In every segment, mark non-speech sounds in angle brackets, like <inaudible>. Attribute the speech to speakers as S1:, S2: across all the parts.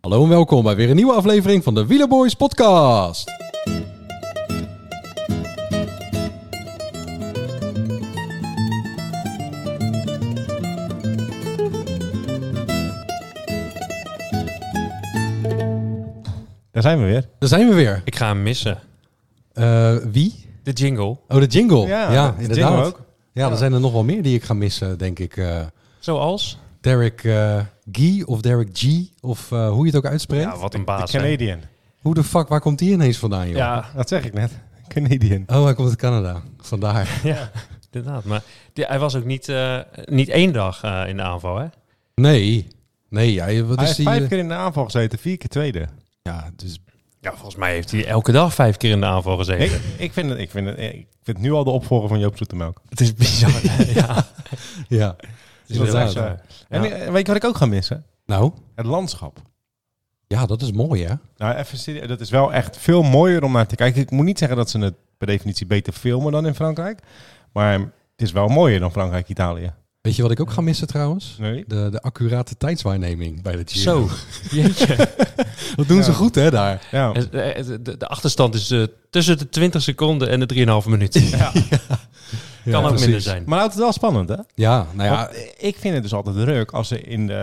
S1: Hallo en welkom bij weer een nieuwe aflevering van de Wielerboys podcast.
S2: Daar zijn we weer.
S1: Daar zijn we weer.
S3: Ik ga hem missen.
S1: Eh, wie?
S3: De jingle.
S1: Oh, de jingle.
S2: de
S1: inderdaad.
S2: jingle ook.
S1: Ja, er zijn er nog wel meer die ik ga missen, denk ik. Eh
S3: Zoals?
S1: Derek eh Guy of Derek G of eh, hoe je het ook uitspreekt.
S3: Ja, wat een
S2: De
S3: baas. hè?
S2: Canadian.
S1: Hoe de fuck, waar komt die ineens vandaan, joh?
S3: Ja,
S2: Dat zeg ik net. Canadian.
S1: Oh, hij komt uit Canada.
S3: <laughs>
S1: Vandaar.
S3: ja, inderdaad. Maar die- hij was ook niet, eh, niet één dag eh, in de aanval, hè?
S1: Nee. Nee, ja, wat
S2: Hij
S1: is
S2: heeft
S1: die? eh,
S2: vijf keer in de aanval gezeten, vier keer tweede.
S1: Ja, dus
S3: Ja, volgens mij heeft hij elke dag vijf keer in de aanval gezeten.
S2: Ik, ik, vind het, ik, vind het, ik vind het nu al de opvolger van Joop Zoetemelk.
S3: Het is bizar. ja,
S1: <laughs> ja.
S3: het is
S1: Dat
S3: heel
S1: is
S3: bizar.
S2: En eh, weet je wat ik ook ga missen?
S1: Nou,
S2: Het landschap.
S1: ja, dat is mooi, hè?
S2: Nou, even serieus, dat is wel echt veel mooier om naar te kijken. Ik moet niet zeggen dat ze het per definitie beter filmen dan in Frankrijk. Maar het is wel mooier dan Frankrijk-Italië.
S1: Weet je wat ik ook ga missen trouwens?
S2: Nee?
S1: De, de accurate tijdswaarneming bij de Giro.
S3: Zo, jeetje.
S1: Dat doen ze
S2: Ja.
S1: goed, hè, daar.
S2: Ja.
S3: Het- <laughs> eh, De, de achterstand is eh, tussen de 20 seconden en de 3,5 minuten.
S1: Ja,
S3: kan ook
S1: precies.
S3: minder zijn.
S2: Maar houdt het wel spannend, hè?
S1: Ja, nou ja,
S2: Want ik vind het dus altijd druk als ze in de,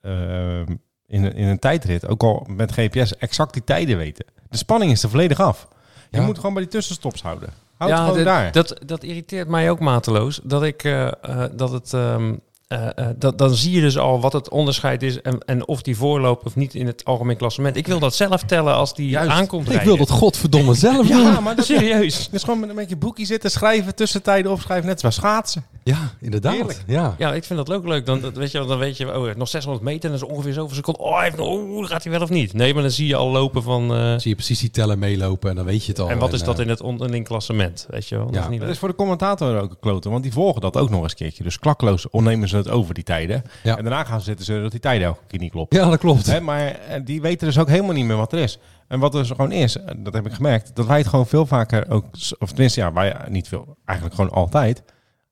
S2: eh, eh, in, een- in een tijdrit, ook al met GPS, exact die tijden weten. De spanning is er volledig af. Je
S1: Ja.
S2: moet gewoon bij die tussenstops houden. Houd het gewoon
S3: dit-
S2: daar.
S3: Dat, dat irriteert mij ook mateloos. Dat ik eh, eh, dat het. ehm, eh, eh, dat, dan zie je dus al wat het onderscheid is en, en of die voorloopt of niet in het algemeen klassement. Ik wil dat zelf tellen als die
S2: Juist.
S3: aankomt
S1: ik
S3: rijden.
S1: wil dat godverdomme
S3: <laughs>
S1: zelf doen.
S2: ja, maar dat, dat
S3: Serieus.
S2: is gewoon met, met je boekje zitten, schrijven, tussentijden opschrijven, net zoals schaatsen.
S1: Ja, inderdaad.
S2: Heerlijk.
S1: Ja.
S3: Ja, ik vind dat ook leuk. Dan, dat, weet je, wel, dan weet je, oh, hij heeft nog 600 meter en dat is ongeveer zoveel seconden. Oh, hij heeft, nog- oh, gaat hij wel of niet? Nee, maar dan zie je al lopen van... eh,
S1: Dan zie je precies die teller meelopen en dan weet je het al.
S3: en wat is dat
S1: eh,
S3: in het onderling klassement? Weet je wel? Dat
S1: Ja.
S3: is niet
S2: Dat
S3: leuk.
S2: is voor de commentator ook een klote, want die volgen dat ook nog eens een keertje. Dus klakloos onnemen ze het over, die tijden.
S1: Ja.
S2: En daarna gaan ze zitten ze dat die tijden elke keer niet kloppen.
S1: Ja, dat klopt.
S2: Hè, maar eh, die weten dus ook helemaal niet meer wat er is. En wat er dus gewoon is, eh, dat heb ik gemerkt, dat wij het gewoon veel vaker ook, s- of tenminste, ja, wij eh, niet veel, eigenlijk gewoon altijd,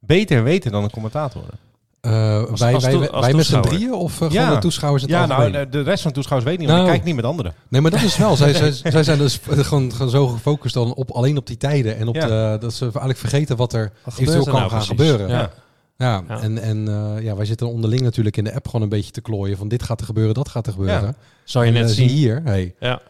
S2: beter weten dan de commentatoren.
S1: Eh, wij
S3: als
S1: wij,
S3: toe-
S1: wij,
S3: als
S1: met z'n
S3: toeschouwer.
S1: drieën of eh,
S2: Ja.
S1: gewoon de toeschouwers in het
S2: Ja, nou,
S1: algemeen?
S2: de- de rest van de toeschouwers weet niet, want
S1: Nou.
S2: ik kijk niet met anderen.
S1: Nee, maar dat is
S3: <laughs>
S1: wel. zij, zij, zij zijn dus gewoon, gewoon zo gefocust dan op, alleen op die tijden. En op
S2: Ja.
S1: de, dat ze eigenlijk vergeten wat er
S3: Wat gebeurt
S1: eventueel
S3: er
S1: kan
S3: nou
S1: gaan
S3: precies?
S1: gebeuren.
S3: Ja.
S1: Ja,
S3: Ja.
S1: en, en eh, ja, wij zitten onderling natuurlijk in de app gewoon een beetje te klooien. Van dit gaat er gebeuren, dat gaat er gebeuren.
S3: Zou je
S1: En,
S3: net
S1: eh, zie
S3: zien.
S1: je hier, hey,
S3: Ja.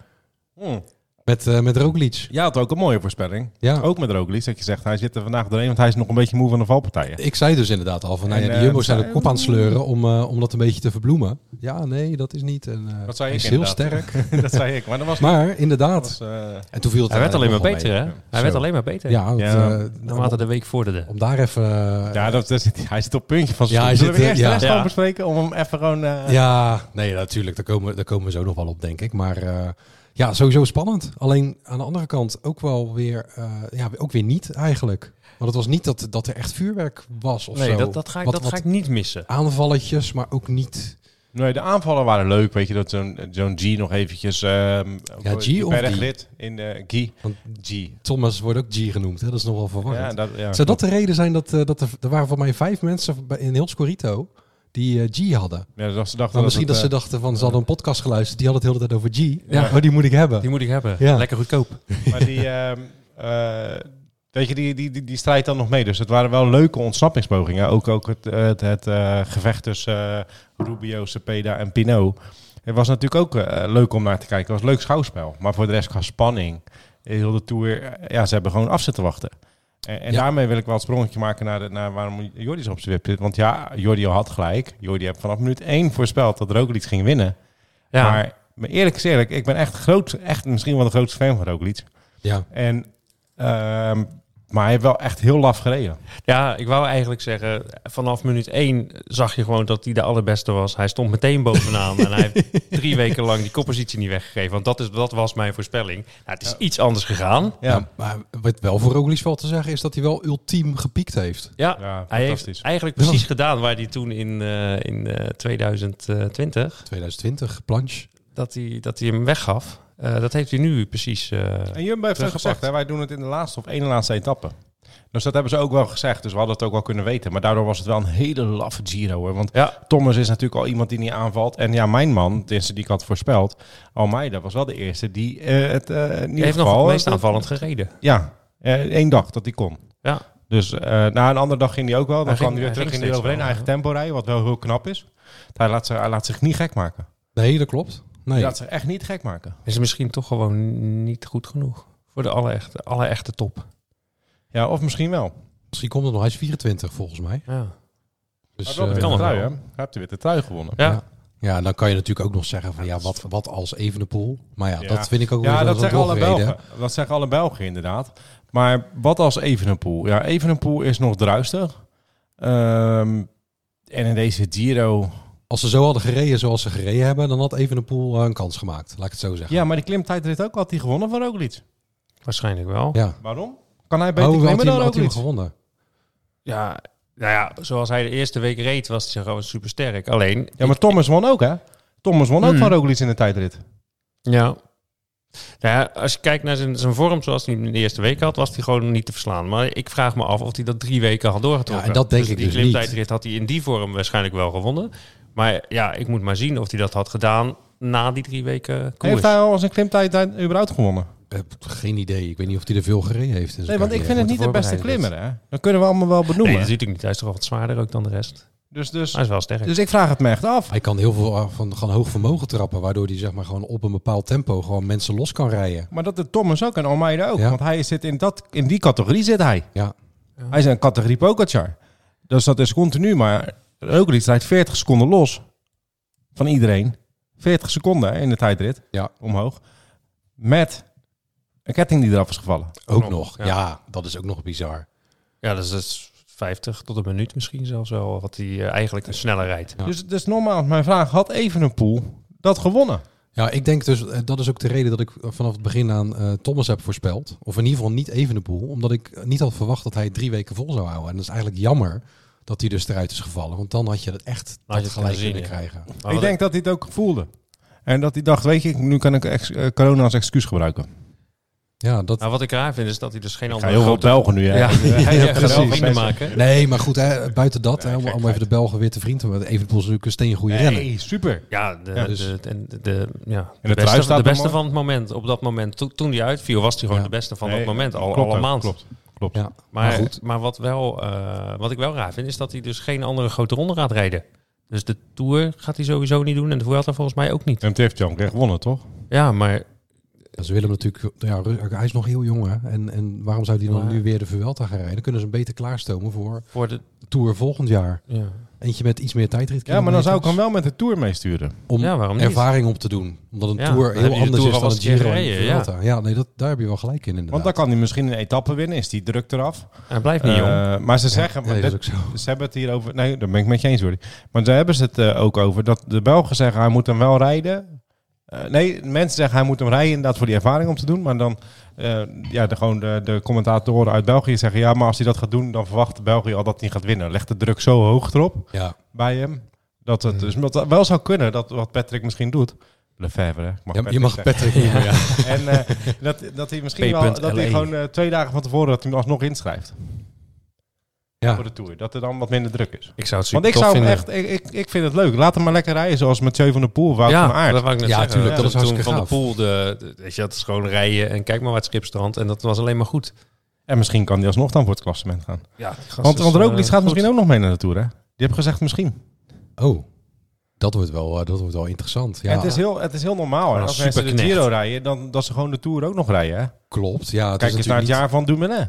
S2: Hm.
S1: met, eh met Roglic.
S2: Jij had ook een mooie voorspelling.
S1: Ja.
S3: Oh.
S2: Ook met Roglic, dat je zegt, hij zit er vandaag doorheen, want hij is nog een beetje moe van de valpartijen.
S1: Ik zei dus inderdaad al van, nou
S2: En,
S1: ja, die
S2: eh,
S1: jumbo's zijn de
S2: zij-
S1: kop aan het sleuren om, eh, om dat een beetje te verbloemen. Ja, nee, dat is niet. En, eh,
S2: Dat zei
S1: hij
S2: ik
S1: is heel
S2: inderdaad.
S1: sterk.
S2: <laughs> dat zei ik, maar dat was...
S1: Maar inderdaad.
S2: dat was, eh,
S1: en toen viel het
S3: Hij werd alleen maar
S1: eigenlijk
S3: beter, hè?
S2: mee.
S3: Hij werd alleen maar beter. Ja.
S1: nog wel mee. Ja,
S2: Ja.
S1: want, eh,
S3: Naarmate de week vorderde.
S1: om, om daar even... eh, ja.
S2: ja, dat, dat zit, hij zit op het puntje van zijn
S1: Ja, hij
S2: stoel. Zullen
S1: zit,
S2: we eerst
S1: eh,
S2: de
S1: ja.
S2: rest gewoon
S3: Ja.
S2: bespreken om hem even gewoon... eh,
S1: nee, natuurlijk. Daar komen, daar komen we zo nog wel op, denk ik. Maar eh, ja, sowieso spannend. Alleen aan de andere kant ook wel weer... eh, ja, ook weer niet eigenlijk. Want het was niet dat, dat er echt vuurwerk was of
S3: Nee,
S1: zo.
S3: dat, dat, ga ik,
S1: Wat-
S3: dat
S1: wat
S3: ga ik niet missen.
S1: Aanvalletjes, maar ook niet...
S2: Nee, de aanvallen waren leuk. Weet je dat zo'n zo'n G nog eventjes. ehm
S1: Ja, G
S2: die
S1: of
S2: bergrit in de G.
S1: Want
S2: G.
S1: Thomas wordt ook G genoemd, hè? Dat is nogal verwarrend.
S2: Ja, dat, ja,
S1: Zou dat de reden zijn dat, eh, dat er, er waren voor mij vijf mensen bij- in heel Scorito die eh, G hadden? Maar
S2: ja, dat ze dachten
S1: misschien dat,
S2: het,
S1: ze
S2: eh,
S1: dachten van, ze hadden een podcast geluisterd, die hadden het de hele tijd over G. Ja.
S2: Ja.
S1: Oh, die moet ik hebben.
S3: Die moet ik hebben.
S1: Ja.
S3: Lekker goedkoop.
S2: Maar die, ehm, eh, weet je, die, die, die, die strijd dan nog mee. Dus het waren wel leuke ontsnappingspogingen. Ook, ook het, eh, het, het eh, gevecht tussen eh, Rubio, Cepeda en Pinot. Het was natuurlijk ook eh, leuk om naar te kijken. Het was een leuk schouwspel. Maar voor de rest qua spanning. Heel de Tour, eh, ja, ze hebben gewoon af zitten wachten. En, en
S1: Ja.
S2: daarmee wil ik wel het sprongetje maken naar, de, naar waarom Jordi zo op zijn wip zit. Want ja, Jordi had gelijk. Jordi heeft vanaf minuut één voorspeld dat Roglic ging winnen.
S3: Ja.
S2: Maar, maar eerlijk is eerlijk, ik ben echt, groot, echt misschien wel de grootste fan van Roglic.
S1: Ja.
S2: En, ehm, maar hij heeft wel echt heel laf gereden.
S3: ja, ik wou eigenlijk zeggen, vanaf minuut 1 zag je gewoon dat hij de allerbeste was. Hij stond meteen bovenaan en hij heeft drie weken lang die koppositie niet weggegeven. Want dat, is, dat was mijn voorspelling. Nou, het is iets anders gegaan.
S1: Ja. Nou, maar wat wel voor Roglic wel te zeggen is dat hij wel ultiem gepiekt heeft.
S3: Ja,
S2: Ja,
S3: hij
S2: fantastisch.
S3: heeft eigenlijk precies gedaan waar hij toen in, eh, in eh, 2020,
S1: 2020, planche.
S3: dat hij, dat hij hem weggaf. Eh, dat heeft hij nu precies... eh,
S2: En Jumbo heeft het ook
S3: Teruggepakt.
S2: gezegd, hè, wij doen het in de laatste of ene laatste etappe. Dus dat hebben ze ook wel gezegd. Dus we hadden het ook wel kunnen weten. Maar daardoor was het wel een hele laffe Giro. Hoor. Want
S3: Ja.
S2: Thomas is natuurlijk al iemand die niet aanvalt. En ja, mijn man, tenminste die ik had voorspeld, Almeida was wel de eerste die eh, het eh in ieder
S3: Die heeft nog
S2: geval-
S3: het meest aanvallend gereden.
S2: Ja, eh, één dag dat hij kon.
S3: Ja.
S2: Dus eh, na een andere dag ging hij ook wel. Dan
S3: Hij
S2: kwam
S3: ging-
S2: hij weer
S3: hij
S2: terug in
S3: ging
S2: de
S3: steeds
S2: overeen
S3: wel,
S2: eigen tempo rijden, wat wel heel knap is. Hij laat, zich- hij laat zich niet gek maken.
S1: Nee, dat klopt. Nee.
S2: Hij laat zich echt niet gek maken.
S3: Is misschien toch gewoon niet goed genoeg. Voor de allerechte, allerechte top.
S2: Ja, of misschien wel.
S1: Misschien komt het nog. Hij is 24 volgens mij.
S3: Ja.
S1: Dus, eh,
S2: Hij heeft Ah, wel
S3: kan
S2: de witte
S3: nog
S2: trui,
S3: wel.
S2: hè? Hij heeft de witte trui gewonnen.
S3: Ja.
S1: ja, en dan kan je natuurlijk ook nog zeggen van ja, wat, wat als Evenepoel. Maar ja,
S2: Ja.
S1: dat vind ik ook
S2: Ja,
S1: wel
S2: dat
S1: zo'n
S2: zeggen, alle
S1: drogreden.
S2: Belgen. dat zeggen alle Belgen inderdaad. Maar wat als Evenepoel? Ja, Evenepoel is nog druistig. Ehm, en in deze Giro...
S1: Als ze zo hadden gereden zoals ze gereden hebben, dan had Evenepoel eh, een kans gemaakt. Laat ik het zo zeggen.
S2: Ja, maar die klimtijdrit ook had hij gewonnen van Roglic.
S3: Waarschijnlijk wel. Ja.
S1: Ja.
S2: Waarom? Kan hij
S1: Oh,
S2: beter
S1: had
S2: klimmen
S1: hij,
S2: dan
S1: had hij hem
S2: Roglic?
S1: gewonnen?
S3: nou ja, zoals hij de eerste week reed, was hij gewoon supersterk. Alleen,
S2: Ja, maar Thomas won ook, hè? Thomas won ook
S3: Hmm.
S2: van Roglic in de tijdrit.
S3: ja. Nou ja, als je kijkt naar zijn, zijn vorm zoals hij hem in de eerste week had, was hij gewoon niet te verslaan. Maar ik vraag me af of hij dat drie weken had doorgetrokken.
S1: Ja, en dat denk ik
S3: die
S1: dus
S3: klimtijdrit had hij in die vorm waarschijnlijk wel gewonnen. Maar ja, ik moet maar zien of hij dat had gedaan na die drie weken koers.
S2: Heeft hij al zijn klimtijdrit überhaupt gewonnen?
S1: Eh, geen idee. Ik weet niet of hij er veel gereden heeft. in zijn
S2: Nee, want ik
S1: carrière.
S2: vind het niet de beste
S3: voorbereid
S2: klimmer, hè? Dat kunnen we allemaal wel
S3: Nee, dus Ah,
S2: benoemen.
S3: dat is natuurlijk niet. Hij is toch wel wat zwaarder ook dan de rest.
S2: dus, dus,
S3: Hij is wel sterk.
S2: dus ik vraag het me echt af.
S1: Hij kan heel veel eh, van gewoon hoog vermogen trappen, waardoor hij zeg maar gewoon op een bepaald tempo gewoon mensen los kan rijden.
S2: Maar dat de Thomas ook en Almeida ook.
S1: Ja.
S2: Want hij zit in, dat, in die categorie zit hij.
S1: Ja.
S3: Ja.
S2: Hij is een categorie Pogacar. Dus dat is continu. Maar Roglic rijdt 40 seconden los van iedereen. 40 seconden hè, in de tijdrit.
S1: Ja.
S2: Omhoog. Met een ketting die eraf is gevallen.
S1: Ook nog.
S3: Nog,
S1: Ja.
S3: ja.
S1: dat is ook nog bizar.
S3: Ja, dus dat is 50 tot een minuut misschien zelfs wel, wat hij eh, eigenlijk een sneller rijdt.
S1: Ja.
S2: Dus, dus nogmaals, mijn vraag. Had Evenepoel dat gewonnen?
S1: Ja, ik denk dus, eh, dat is ook de reden dat ik eh, vanaf het begin aan eh, Thomas heb voorspeld. Of in ieder geval niet Evenepoel, omdat ik eh, niet had verwacht dat hij drie weken vol zou houden. En dat is eigenlijk jammer dat hij dus eruit is gevallen, want dan had je het echt
S3: je het
S1: dat gelijk
S3: kunnen
S1: kunnen
S3: zien,
S1: krijgen.
S3: Maar
S2: ik
S3: wat-
S2: denk dat hij het ook voelde. En dat hij dacht, weet je, nu kan ik ex- eh, corona als excuus gebruiken.
S1: Ja, dat...
S3: nou, wat ik raar vind is dat hij dus geen
S2: Ik
S3: andere
S2: ga heel veel
S3: grote...
S2: Belgen nu, hè?
S3: <laughs> Ja, hij
S1: Ja,
S3: gaat wel
S1: precies.
S3: vrienden
S1: <laughs>
S3: maken.
S1: Nee, maar goed, hè, buiten dat, hè, om,
S2: gek
S1: om even de Belgen weer te vrienden, want Evenepoel is natuurlijk een steengoede renner.
S2: Nee, super.
S3: Ja, de,
S1: Ja, dus-
S3: de, de, de- de- ja, de,
S2: trui
S3: beste,
S2: staat
S3: de
S2: er
S3: beste
S2: mooi.
S3: van het moment. Op dat moment, Toen- toen hij uitviel, was hij gewoon
S1: Ja.
S3: de beste van
S2: Nee,
S3: dat moment. Al,
S2: klopt
S3: al
S2: ook,
S3: een maand.
S2: Klopt. klopt.
S1: Ja,
S3: Maar,
S1: maar goed.
S3: maar wat, wel, eh, wat ik wel raar vind, is dat hij dus geen andere grote ronde gaat rijden. Dus de Tour gaat hij sowieso niet doen en de Vuelta volgens mij ook niet.
S2: En het heeft Jan echt gewonnen, toch?
S3: Ja, maar
S1: Ja, ze willen hem natuurlijk, ja, Ru- eh, hij is nog heel jong hè. En, en waarom zou hij dan
S3: Maar-
S1: nu weer de Vuelta gaan rijden? Dan kunnen ze hem beter klaarstomen voor
S3: voor de...
S1: de Tour volend jaar.
S3: Ja,
S1: Eentje met iets meer tijdrit.
S2: Ja, maar dan zou ik hem wel met de Tour meesturen.
S1: Om
S3: Ja, waarom niet?
S1: ervaring op te doen. Omdat een
S3: Ja, dan
S1: Tour
S3: heb je
S1: heel
S3: de
S1: anders
S3: Tour
S1: is
S3: al
S1: dan een
S3: eens een keer
S1: Giro en een
S3: gereden, ja.
S1: Vuelta. Ja. nee, dat, daar heb je wel gelijk in inderdaad.
S2: Want dan kan hij misschien een etappe winnen. Is die druk eraf?
S3: hij blijft niet jong.
S2: Eh, maar ze zeggen...
S1: ja,
S2: want
S1: dat is
S2: dit-
S1: ook zo.
S2: ze hebben het hier over... Nee, daar ben ik met je eens, Jordi. Maar daar hebben ze het eh, ook over. Dat de Belgen zeggen, hij moet hem wel rijden. Eh, nee, mensen zeggen, hij moet hem rijden inderdaad voor die ervaring om te doen. Maar dan... eh, ja, de, gewoon de, de commentatoren uit België zeggen... Ja, maar als hij dat gaat doen, dan verwacht België al dat hij gaat winnen. Legt de druk zo hoog erop.
S1: Ja.
S2: bij hem. Dat
S1: Mm.
S2: het dus wat wel zou kunnen, dat wat Patrick misschien doet. Lefebvre, hè? Ik mag
S1: Ja, je
S2: Patrick
S1: mag
S2: zeggen.
S1: Patrick noemen, ja.
S2: En eh, dat, dat hij misschien wel, dat hij
S1: E.
S3: P.L.E..
S2: gewoon eh, twee dagen van tevoren dat hij hem alsnog inschrijft
S1: Ja.
S2: voor de Tour. Dat er dan wat minder druk is.
S3: Ik zou het super
S2: Want ik
S3: tof
S2: zou hem
S3: vinden.
S2: echt, ik, ik, ik vind het leuk. Laat hem maar lekker rijden zoals Mathieu van der Poel, Wout
S3: ja,
S2: van Aert.
S3: dat wou ik net
S1: Ja,
S3: zeggen.
S1: tuurlijk, dat is
S3: Toen- toen
S1: hartstikke
S3: Van de
S1: gaaf.
S3: Poel, de, de- weet je, dat is gewoon rijden en kijk maar waar het schip strandt. En dat was alleen maar goed.
S2: En misschien kan hij alsnog dan voor het klassement gaan.
S3: Ja, die gast
S2: Want,
S3: is,
S2: want
S3: eh,
S2: Roglic gaat
S3: goed.
S2: misschien ook nog mee naar de Tour, hè? Die heb gezegd misschien.
S1: Oh, dat wordt wel, eh, dat wordt wel interessant. Ja,
S2: En het, is heel, het is heel normaal. Hè?
S3: Een
S2: Als mensen de
S3: superknecht.
S2: Giro rijden, dan dat ze gewoon de Tour ook nog rijden, hè?
S1: klopt. Ja, het
S2: Kijk
S1: is
S2: eens naar het
S1: natuurlijk
S2: jaar van Dumoulin.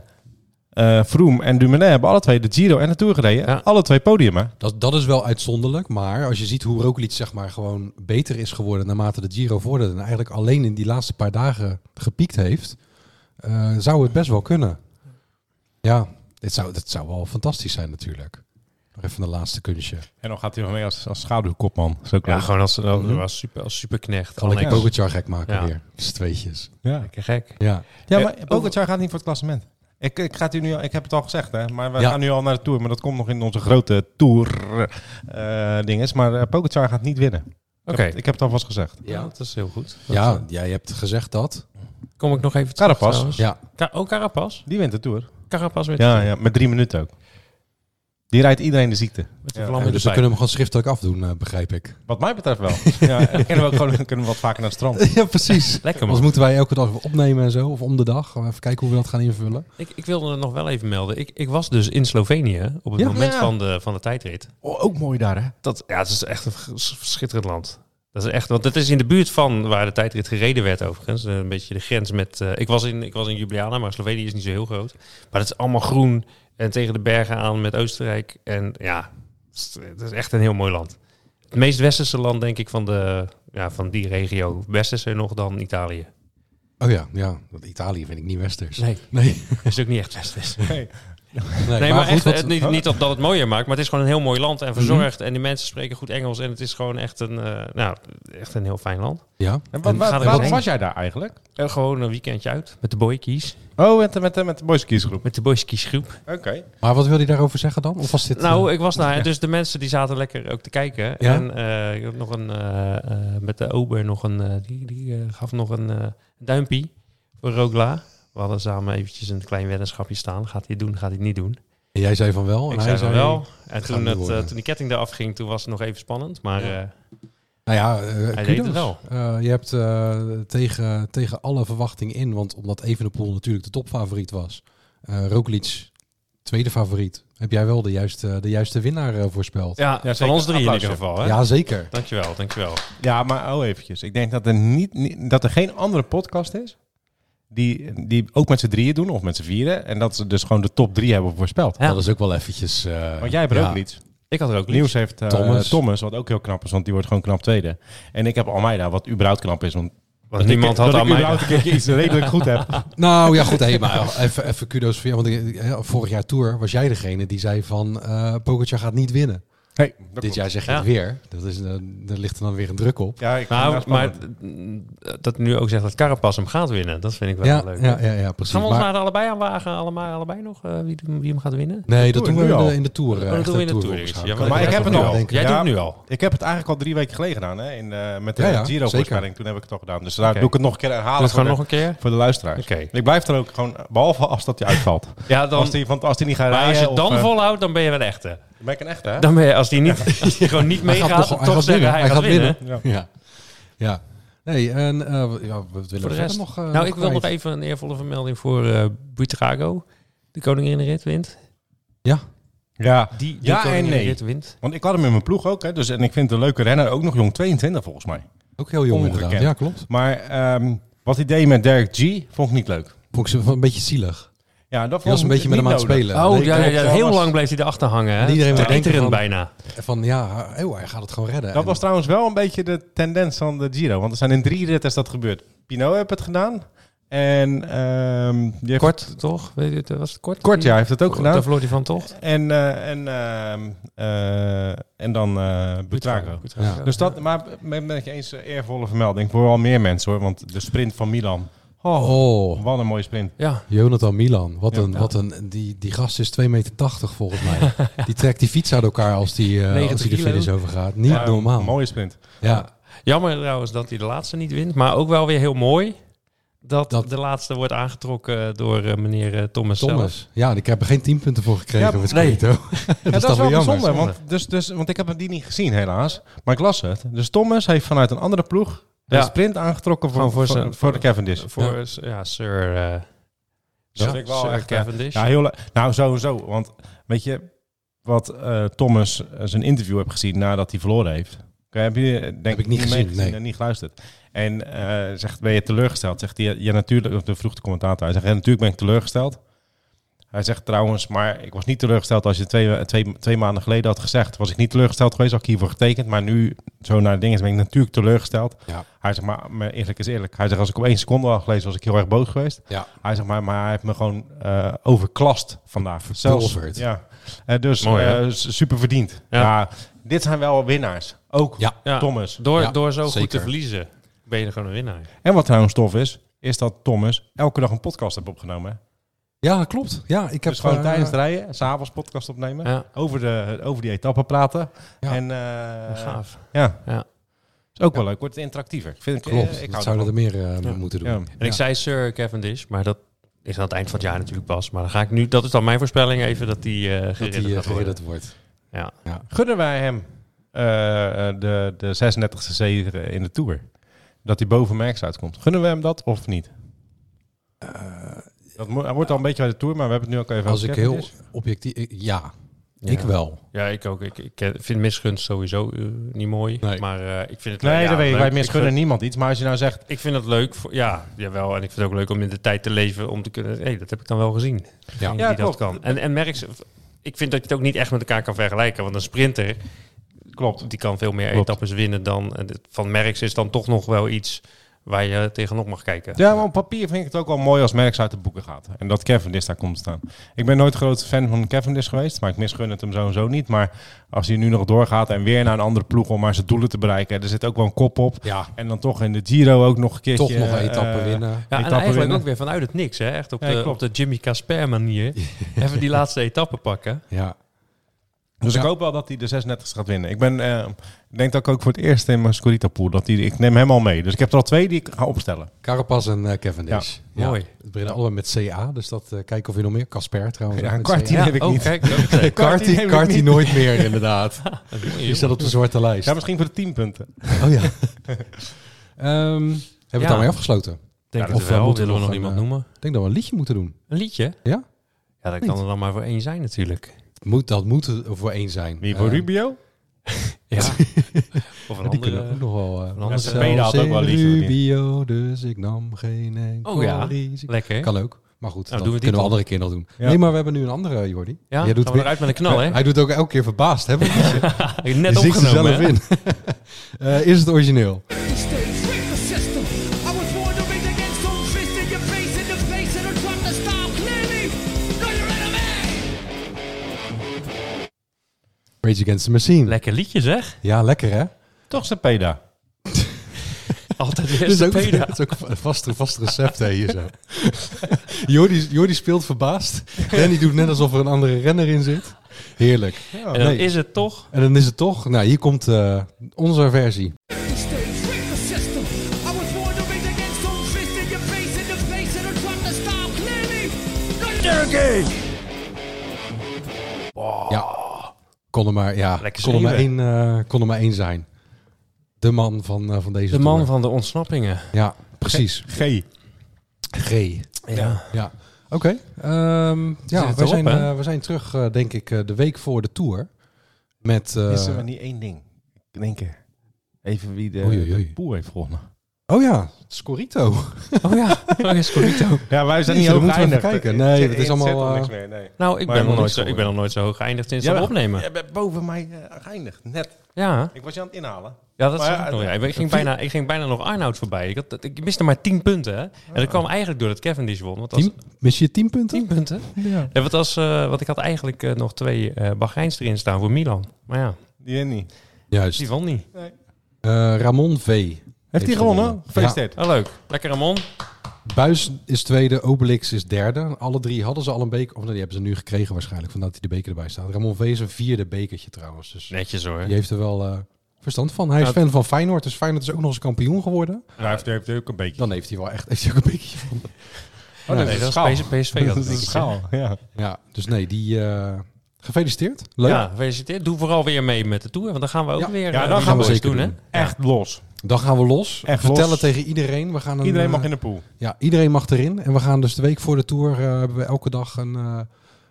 S2: Eh Vroom en Dumoulin hebben alle twee de Giro en de Tour gereden.
S3: Ja.
S2: Alle twee podiumen.
S1: niet- dat, dat is wel uitzonderlijk, maar als je ziet hoe Roglic zeg maar gewoon beter is geworden naarmate de Giro vorderde en eigenlijk alleen in die laatste paar dagen gepiekt heeft, eh, zou het best wel kunnen. Ja, dit zou, dit zou wel fantastisch zijn natuurlijk. Nog even een laatste kunstje.
S2: En dan gaat hij nog mee als, als schaduwkopman. Zo
S3: Ja, gewoon als, als,
S1: Mhm.
S3: als super, als superknecht.
S1: Kan ik
S3: Annex.
S1: Pogacar gek maken
S3: Ja.
S1: weer. Dus tweetjes.
S2: ja.
S3: Lekker gek.
S1: Ja.
S2: ja,
S3: Eh,
S2: maar Pogacar gaat niet voor het klassement. Ik, ik, ga het u nu, al- ik heb het al gezegd, hè, maar we
S1: Ja.
S2: gaan nu al naar de Tour. Maar dat komt nog in onze grote Tour-dinges. maar eh, Pogacar gaat niet winnen. Ik
S3: Oké,
S2: heb het- Ik heb het alvast gezegd.
S3: ja, dat is heel goed. Dat,
S1: ja,
S3: eh,
S1: jij hebt gezegd dat.
S3: Kom ik nog even terug
S2: Carapaz.
S3: trouwens.
S1: Ja,
S3: Ka- oh, Carapas?
S2: Die wint de Tour.
S3: Carapaz weer
S2: Ja, ja, met drie minuten ook. Die rijdt iedereen de ziekte.
S3: Met
S2: Ja,
S3: de vlam
S1: Ja,
S3: in de
S1: dus we
S3: pijp.
S1: kunnen hem gewoon schriftelijk afdoen, eh, begrijp ik.
S2: Wat mij betreft wel. <laughs> ja, dan kunnen we ook gewoon dan kunnen we wat vaker naar het strand.
S1: <laughs> ja, precies.
S3: Lekker
S1: Anders
S3: man.
S1: moeten wij elke dag weer opnemen en zo, of om de dag. Gaan we Even kijken hoe we dat gaan invullen.
S3: Ik, ik wilde het nog wel even melden. Ik, ik was dus in Slovenië op het
S1: Ja.
S3: moment
S2: Ja.
S3: van, de, van de tijdrit.
S2: Oh, ook mooi daar, hè?
S3: Dat, ja, het is echt een vers- schitterend land. Dat is echt, want het is in de buurt van waar de tijdrit gereden werd overigens. Eh, Een beetje de grens met... eh, ik, was in, ik was in Ljubljana, maar Slovenië is niet zo heel groot. Maar het is allemaal groen en tegen de bergen aan met Oostenrijk. En ja, het is- het is echt een heel mooi land. Het meest westerse land, denk ik, van, de, ja, van die regio. Westerser nog dan Italië. <laughs>
S1: Oh ja, ja. Want Italië vind ik niet westers.
S3: Nee.
S1: <laughs> Nee,
S3: is ook niet echt westers.
S2: Nee.
S1: nee,
S3: Nee, maar, echt,
S1: goed,
S3: het,
S1: wat- Oh. Mhm.
S3: niet, niet dat dat het mooier maakt, maar het is gewoon een heel mooi land en verzorgd. En die mensen spreken goed Engels en het is gewoon echt een, eh, nou, echt een heel fijn land.
S1: Ja,
S2: En
S3: En
S2: wa-
S3: gaat er
S2: waarom
S3: wat-
S2: was jij daar eigenlijk?
S3: En gewoon een weekendje uit met de boykies,
S2: Oh, met, de- met, de- met de Boys Kiesgroep.
S3: met de boyskiesgroep.
S2: Oké.
S1: maar wat wil je daarover zeggen dan? Of was dit...
S3: Nou, ik
S1: <laughs>
S3: was daar, dus de mensen die zaten lekker ook te kijken.
S1: eh, Ja?
S3: En eh, ik heb nog een, eh, eh, met de ober nog een, eh, die, die eh, gaf nog een eh, duimpie voor Rogla. We hadden samen eventjes een klein weddenschapje staan. Gaat hij het doen, gaat hij het niet doen?
S1: eh, jij zei van wel. en
S3: ik
S1: hij
S3: zei van wel. En
S1: gaat
S3: toen,
S1: niet
S3: het, eh,
S1: worden.
S3: toen die ketting eraf ging, toen was het nog even spannend. Maar
S1: Ja.
S3: eh,
S1: Nou ja, eh, kudos.
S3: deed het wel.
S1: Eh, je hebt eh, tegen, tegen alle verwachting in, want omdat Evenepoel natuurlijk de topfavoriet was, eh Roglic tweede favoriet, heb jij wel de juiste, de juiste winnaar eh, voorspeld.
S3: Ja, van
S2: zeker.
S3: ons drie in
S2: Applaus,
S3: ieder geval. Hè?
S1: Ja, zeker.
S3: Dankjewel, dankjewel.
S2: Ja, maar oh eventjes. Ik denk dat er, niet, niet- dat er geen andere podcast is die, die ook met z'n drieën doen of met z'n vieren. En dat ze dus gewoon de top drie hebben voorspeld.
S3: Ja.
S1: Dat is ook wel eventjes... eh,
S2: Want jij hebt er
S1: ja.
S2: ook iets.
S3: Ik had er ook nieuws.
S2: Nieuws heeft eh,
S1: Thomas.
S2: Thomas. wat ook heel knap is, want die wordt gewoon knap tweede. En ik heb Almeida, wat überhaupt knap is. Want
S3: Want niemand had aan
S2: aan mij.
S3: mij.
S2: überhaupt een keertje iets redelijk goed
S3: <laughs>
S2: heb.
S1: Nou ja, goed. <laughs> Hey, maar even, even kudos voor jou. Want ik- eh, vorig jaar Tour was jij degene die zei van eh Pogacar gaat niet winnen.
S2: Nee,
S1: Dit jaar zeg je
S3: Ja.
S1: het weer. Dat is, eh, daar ligt er dan weer een druk op.
S2: Ja, ik
S3: Nou,
S2: ja,
S3: maar
S2: spannend.
S3: eh, dat nu ook zegt dat Carapas hem gaat winnen, dat vind ik wel
S1: Ja,
S3: leuk.
S1: ja, ja, ja, precies.
S3: Gaan we ons
S1: Maar-
S3: naar de allebei aanwagen, allebei, allebei nog, eh, wie, de- wie hem gaat winnen?
S1: nee, dat
S2: Tour
S1: doen we
S2: nu
S1: in
S2: al.
S1: de, in de Tour. eh,
S3: Oh, dat
S1: echt
S3: doen we in de
S1: Tour
S3: Tour,
S1: volgens
S3: ja,
S1: mij.
S3: maar
S1: Kan
S2: ik heb
S1: ook
S2: het
S1: nog
S2: al.
S1: wel
S3: Jij
S2: Ja.
S3: doet het nu al.
S2: Ik heb het eigenlijk al drie weken geleden gedaan, hè? In, eh, met de
S1: Ja, ja,
S2: Giro-voorspelling. Toen heb ik het al gedaan. Dus daar
S3: Oké.
S2: doe ik het nog een keer
S3: Doe
S2: herhalen
S3: het
S2: voor
S3: gewoon
S2: de,
S3: nog een keer?
S2: voor de luisteraars.
S3: Oké.
S2: Ik blijf er ook gewoon, behalve als dat je uitvalt.
S3: Ja, dan,
S2: als, die, want als die niet gaat
S3: maar
S2: rijden...
S3: als je het
S2: of,
S3: dan
S2: eh,
S3: volhoudt, dan ben je wel een echte.
S2: Dan ben ik een echte, hè?
S3: Dan ben je, als die <laughs> niet, als die gewoon niet
S1: Hij gaat
S3: meegaat,
S1: toch-
S3: toch,
S1: hij gaat
S3: zeggen
S1: winnen.
S3: hij gaat winnen.
S2: Ja.
S1: Ja. ja. Nee, en eh, ja, wat willen we
S3: Voor de
S1: verder
S3: rest.
S1: nog?
S3: Nou, ik wil nog even een eervolle vermelding voor eh Buitrago. De koninginrit wint.
S2: Ja.
S3: Die, die
S2: Ja en nee.
S3: koninginrit wint.
S2: Want ik had hem in mijn ploeg ook, hè? Dus, en ik vind het een leuke renner. Ook nog jong 22, volgens mij.
S1: Ook heel jong
S2: Ongekend.
S1: inderdaad. Ja, klopt.
S2: Maar ehm, wat hij deed met Derek G, vond ik niet leuk.
S1: Vond ik ze wel een beetje zielig.
S2: Ja, dat
S1: Hij was een beetje met hem aan het spelen.
S3: Oh,
S1: Nee,
S3: ja, ja,
S1: klopt.
S3: ja,
S2: klopt.
S3: heel
S2: Dat was-
S3: lang bleef hij erachter hangen. Hè?
S1: En iedereen
S3: Het
S1: maar denken
S3: Eterend
S1: van-
S3: bijna.
S1: Van ja, eeuw, hij gaat het gewoon redden.
S2: Dat
S1: En-
S2: was trouwens wel een beetje de tendens van de Giro. Want er zijn in drie ritters dat gebeurd. Pino heeft het gedaan. En ehm, die heeft-
S3: Kort, toch? Weet je, het, was het kort? Oh,
S2: Kort, ja, hij heeft het ook
S3: Daar
S2: gedaan.
S3: verloor hij van, toch?
S2: En, eh, en, ehm, eh, en dan eh Butrago.
S1: Ja.
S2: Dus dat, maar ben ben ik eens eh, eervolle vermelding voor wel meer mensen hoor. Want de sprint van Milan. Oh,
S1: Oh,
S2: wat een mooie sprint.
S3: Ja,
S1: Jonathan Milan. Wat
S2: Ja.
S1: een, wat een, die, die gast is 2,80 meter volgens
S3: <laughs>
S1: mij. Die trekt die fiets uit elkaar als die, eh,
S3: 90
S1: als die de
S3: kilo.
S1: finish overgaat. Niet
S2: Ja,
S1: normaal.
S2: Eh, Mooie sprint.
S1: Ja,
S3: jammer trouwens dat hij de laatste niet wint. Maar ook wel weer heel mooi dat,
S1: Dat-
S3: de laatste wordt aangetrokken door eh, meneer eh, Thomas, zelf.
S1: Thomas. Ja, ik heb er geen 10 punten voor gekregen.
S2: Ja,
S1: met
S3: nee.
S1: Scorito.
S2: Ja,
S1: is
S2: dat,
S1: dan
S2: is wel
S1: weer jammer.
S2: bijzonder. Want, dus, dus, want ik heb die niet gezien helaas. Maar ik las het. Dus Thomas heeft vanuit een andere ploeg de
S3: Ja.
S2: sprint aangetrokken voor,
S3: Gewoon voor
S2: voor,
S3: zijn-
S2: voor, de Cavendish.
S3: Voor eh, ja. Sir, eh,
S2: Dat
S3: Sir-
S2: vind ik wel
S3: Sir
S2: echt, eh,
S3: Cavendish.
S2: Ja, heel le- Nou, sowieso. Want weet je wat eh, Thomas eh, zijn interview heb gezien nadat hij verloren heeft? Oké, heb je, eh, denk
S1: ik niet gezien,
S2: meegezien
S1: nee.
S2: en niet geluisterd. En eh, zegt, ben je teleurgesteld? Zegt hij, ja natuurlijk, of de vroeg de commentator. Hij zegt, ja, natuurlijk ben ik teleurgesteld. Hij zegt trouwens, maar ik was niet teleurgesteld als je twee, eh, twee, twee maanden geleden had gezegd. Was ik niet teleurgesteld geweest, had ik hiervoor getekend. Maar nu, zo naar de dingen, ben ik natuurlijk teleurgesteld.
S1: Ja.
S2: Hij zegt, maar, maar eerlijk is eerlijk. Hij zegt, als ik op één seconde had gelezen, was ik heel erg boos geweest.
S1: Ja.
S2: Hij zegt, maar, maar hij heeft me gewoon eh, overklast vandaag.
S1: Verpulverd.
S2: ja. Eh, dus
S3: Mooi, hè?
S2: eh, s- super verdiend.
S3: Ja.
S2: Ja. dit zijn wel winnaars. Ook
S1: Ja.
S3: Ja.
S2: Thomas.
S3: Door,
S1: Ja,
S3: door zo goed te
S1: zeker.
S3: verliezen ben je er gewoon een winnaar.
S2: En wat trouwens tof is, is dat Thomas elke dag een podcast heeft opgenomen. hè.
S1: <laughs> ja, dat klopt. Ja, ik heb
S2: dus gewoon
S1: eh,
S2: tijdens het rijden, s'avonds podcast opnemen.
S3: Ja,
S2: Over, de, over die etappen praten.
S1: Ja.
S2: En eh,
S3: gaaf.
S2: Ja.
S3: Ja.
S2: Is ook wel leuk. Wordt interactiever. Ik vind, ik-
S1: Klopt,
S2: eh,
S1: dat
S2: ik hou
S1: zouden er
S2: ervan.
S1: meer eh, mee
S3: Ja.
S1: moeten doen.
S2: Ja.
S3: En ik zei Sir Cavendish, maar dat Is aan het eind van het jaar natuurlijk pas. Maar dan ga ik nu, dat is dan mijn voorspelling even, dat die eh
S1: dat
S3: geredderd
S1: hij eh,
S3: gaat worden.
S1: geredderd wordt.
S3: Ja.
S2: Gunnen wij hem eh, eh, de, de 36e zege in de Tour? Dat hij boven Merckx uitkomt. Gunnen we hem dat of niet?
S3: Eh,
S2: dat mo- hij wordt al een beetje bij de Tour, maar we hebben het nu ook even
S1: Eh, Als
S2: over
S1: ik
S2: Cavendish.
S1: heel objectief... ik- Ja,
S3: Ja.
S1: ik wel.
S3: Ja, ik ook. Ik, ik vind misgunst sowieso eh, niet mooi.
S1: Nee.
S3: Maar eh, ik vind het
S2: Nee,
S3: ja,
S2: dat weet ik.
S3: leuk.
S2: Wij misgunnen
S3: vind-
S2: niemand iets. Maar als je nou zegt,
S3: Ik vind het leuk, voor, ja, jawel. En ik vind het ook leuk om in de tijd te leven om te kunnen... hey, dat heb ik dan wel gezien.
S1: Ja.
S3: Die
S2: Ja,
S3: dat
S2: klopt.
S3: kan. En, en merk ze- ik vind dat je het ook niet echt met elkaar kan vergelijken. Want een sprinter,
S2: klopt.
S3: die kan veel meer
S2: Klopt.
S3: etappes winnen dan... en dit- Van Merckx is dan toch nog wel iets waar je tegenop mag kijken.
S2: Ja, maar op papier vind ik het ook wel mooi als Merckx uit de boeken gaat. En dat Cavendish daar komt te staan. Ik ben nooit groot fan van Cavendish geweest, maar ik misgun het hem zo en zo niet. Maar als hij nu nog doorgaat en weer naar een andere ploeg om maar zijn doelen te bereiken. Er zit ook wel een kop op.
S1: Ja,
S2: En dan toch in de Giro ook nog een keertje.
S1: toch nog een etappe
S2: eh,
S1: winnen.
S3: Ja, en
S2: Etappe
S3: eigenlijk
S2: winnen.
S3: ook weer vanuit het niks, hè? Echt op,
S2: Ja,
S3: de,
S2: klopt.
S3: op de Jimmy Casper manier. Even die laatste etappe pakken.
S1: Ja.
S2: Dus
S1: Ja.
S2: ik hoop wel dat hij de 36 gaat winnen. Ik ben, eh, ik denk dat ik ook voor het eerst in mijn Scorita pool, dat die, ik neem hem al mee. Dus ik heb er al twee die ik ga opstellen.
S1: Carapaz en eh, Cavendish.
S3: Ja, mooi.
S1: Het beginnen allebei met CA, dus dat eh, kijken of je nog meer... Casper trouwens.
S2: Ja,
S1: ook
S2: een
S1: met
S2: kwartier.
S1: CA.
S2: Die heb ik
S3: oh,
S2: niet.
S3: kijk. dat is
S1: <laughs> Carti,
S3: leuk.
S2: Carti neem ik
S1: Carti
S3: <laughs>
S2: niet.
S1: nooit meer, inderdaad. Die staat op de zwarte lijst.
S2: Ja, misschien voor de 10 punten.
S1: Oh
S3: <laughs>
S1: ja. Ehm, hebben we
S3: Ja.
S1: het daarmee afgesloten?
S3: Denk
S1: Ja,
S3: het
S1: of
S3: wel.
S1: moeten we
S3: Willen we
S1: nog
S3: nog
S1: een,
S3: iemand
S1: eh,
S3: noemen?
S1: Ik denk dat we een liedje moeten doen.
S3: Een liedje?
S1: Ja?
S3: Ja, dat
S1: Niet.
S3: kan er dan maar voor één zijn natuurlijk.
S1: Moet, dat moet er voor één zijn.
S2: Wie voor
S1: Eh, <laughs>
S2: Rubio?
S3: Ja. of een
S1: die kunnen
S3: andere.
S1: ook nog wel. eh,
S3: andere
S1: zelfs
S2: speler had ook
S1: in
S2: wel liedjes, of niet?
S1: Rubio, dus ik nam geen enkel
S3: Oh ja.
S1: risico.
S3: Lekker.
S1: Kan ook. Maar goed,
S3: Nou,
S1: dat
S3: doen
S1: kunnen
S3: we die
S1: we
S3: dan.
S1: andere keer nog doen.
S2: Ja.
S1: Nee, maar we hebben nu een andere, eh, Jordi.
S3: ja,
S1: Jij
S3: gaan
S1: doet
S3: we
S1: weer-
S3: eruit met een knal, hè?
S1: Hij doet ook elke keer verbaasd,
S3: <laughs>
S1: hè?
S3: Net
S1: Je ziet er
S3: opgenomen,
S1: zelf
S3: hè?
S1: in. <laughs> Eh, is het origineel?
S4: mistakes, break the system. I was born to be the gangster, fist in your face, in the face, and I'm trying to stop clearly. Know your enemy.
S1: Rage Against the Machine.
S3: Lekker liedje,
S1: <laughs>
S3: zeg.
S1: ja, lekker hè?
S2: Toch zijn peda.
S3: Altijd
S1: Dit is
S3: weer
S1: Dus ook,
S3: peda.
S1: dit <laughs> is ook een vast, vast recept hè, hier zo. <laughs> Jordi, Jordi speelt verbaasd. Danny doet net alsof er een andere renner in zit. Heerlijk.
S3: En dan
S1: Nee.
S3: is het toch...
S1: En dan is het toch, nou hier komt eh, onze versie.
S4: Mistakes, break the system. I was born to be the gangster, fist in your face, in the face, and I'm trying to stop clearly. Know your
S1: Ja, kon er maar, ja,
S3: Lekker
S1: kon er maar, één,
S3: schreeuwen.
S1: eh, kon er maar één zijn. De man van, eh, van deze
S3: De man
S1: tour.
S3: van de ontsnappingen.
S1: Ja, precies.
S2: G.
S1: G. <laughs>
S3: Ja.
S1: Ja, oké. Ehm, ja,
S3: het
S1: we
S3: erop,
S1: zijn,
S3: hè?
S1: eh, we zijn terug, eh, denk ik, eh, de week voor de tour. Met. eh,
S2: Is er maar niet één ding? In één keer. Even wie de,
S1: Oei, oei, oei.
S2: de pool heeft gewonnen.
S1: oh ja, Scorito. <laughs>
S3: Oh ja, dat is correct.
S2: Ja, wij
S1: Jeetje,
S2: zijn niet
S1: dan moeten
S2: hoog
S1: we even
S2: geëindigd.
S1: kijken. Nee,
S2: Er
S1: dat is
S2: zit
S1: allemaal,
S2: al
S1: eh,
S2: niks meer, nee.
S3: <laughs> Nou,
S2: Maar
S3: ik ben, nog
S2: helemaal
S3: nooit
S2: niks
S3: zo, ik ben nog nooit zo hoog geëindigd sinds
S2: Ja,
S3: dat
S2: maar-
S3: opnemen.
S2: Je bent boven mij eh, geëindigd, net.
S3: Ja,
S2: Ik was je aan het inhalen.
S3: ja dat
S2: Maar
S3: zag
S2: ja,
S3: ik nog. Ja. Ik, ging
S2: vier-
S3: bijna, ik ging bijna nog Arnoud voorbij. Ik, had, dat- ik miste maar 10 punten. Hè. En dat kwam eigenlijk doordat Cavendish won. Want als,
S1: Team? Mis je Ah. tien punten?
S3: 10 punten?
S1: Ja.
S3: Ja, wat als, eh, want ik had eigenlijk eh, nog twee eh Bahreins erin staan voor Milan. Maar ja,
S2: Die en niet.
S1: Juist.
S3: die won niet.
S1: Eh, Ramon V.
S2: Heeft hij gewonnen? Gefeliciteerd.
S3: Oh, leuk. Lekker Ramon.
S1: Buis is tweede, Obelix is derde. Alle drie hadden ze al een beker. Of nee, die hebben ze nu gekregen waarschijnlijk, vandaar dat hij de beker erbij staat. Ramon V is een vierde bekertje trouwens. Dus
S3: Netjes hoor.
S1: die heeft er wel eh, verstand van. Hij is
S3: Ja,
S1: fan van Feyenoord, dus Feyenoord is ook nog eens kampioen geworden.
S2: Hij heeft, heeft ook een beetje.
S1: Dan heeft hij wel echt heeft hij ook een bekertje van.
S2: Oh,
S1: Nee,
S3: Nee, dat
S2: schaal.
S3: is PS- PSV. had
S2: <laughs> Dat
S3: het
S2: is een
S3: netjes, hè.
S2: schaal, ja.
S1: Ja, dus nee, die... eh, gefeliciteerd. Leuk.
S3: Ja, gefeliciteerd. Doe vooral weer mee met de tour, want dan gaan we ook
S1: Ja.
S3: weer.
S2: Ja,
S3: eh,
S2: dan
S3: iets
S1: gaan we
S3: moois
S1: zeker
S3: doen, hè?
S1: doen.
S2: Echt los.
S1: Dan gaan we los.
S2: Echt
S1: Vertellen
S2: los.
S1: tegen iedereen. We gaan een,
S2: Iedereen mag
S1: eh,
S2: in de pool.
S1: Ja, iedereen mag erin. En we gaan dus de week voor de Tour eh, hebben we elke dag een, eh,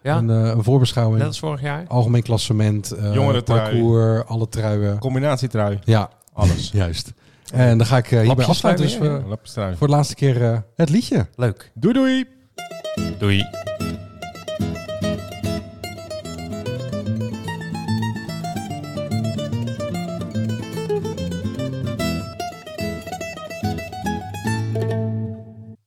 S3: Ja,
S1: een, eh, een voorbeschouwing.
S3: net als vorig jaar.
S1: Algemeen klassement, eh,
S2: Jongerentrui.
S1: parcours, alle truien.
S2: Combinatietrui,
S1: Ja,
S2: alles.
S1: juist. En dan ga ik eh, hierbij
S3: Lapjes
S1: afsluiten. Dus
S3: trui,
S1: eh,
S2: Lappestrui.
S1: voor de laatste keer eh, het liedje.
S3: Leuk.
S2: Doei doei!
S3: Doei.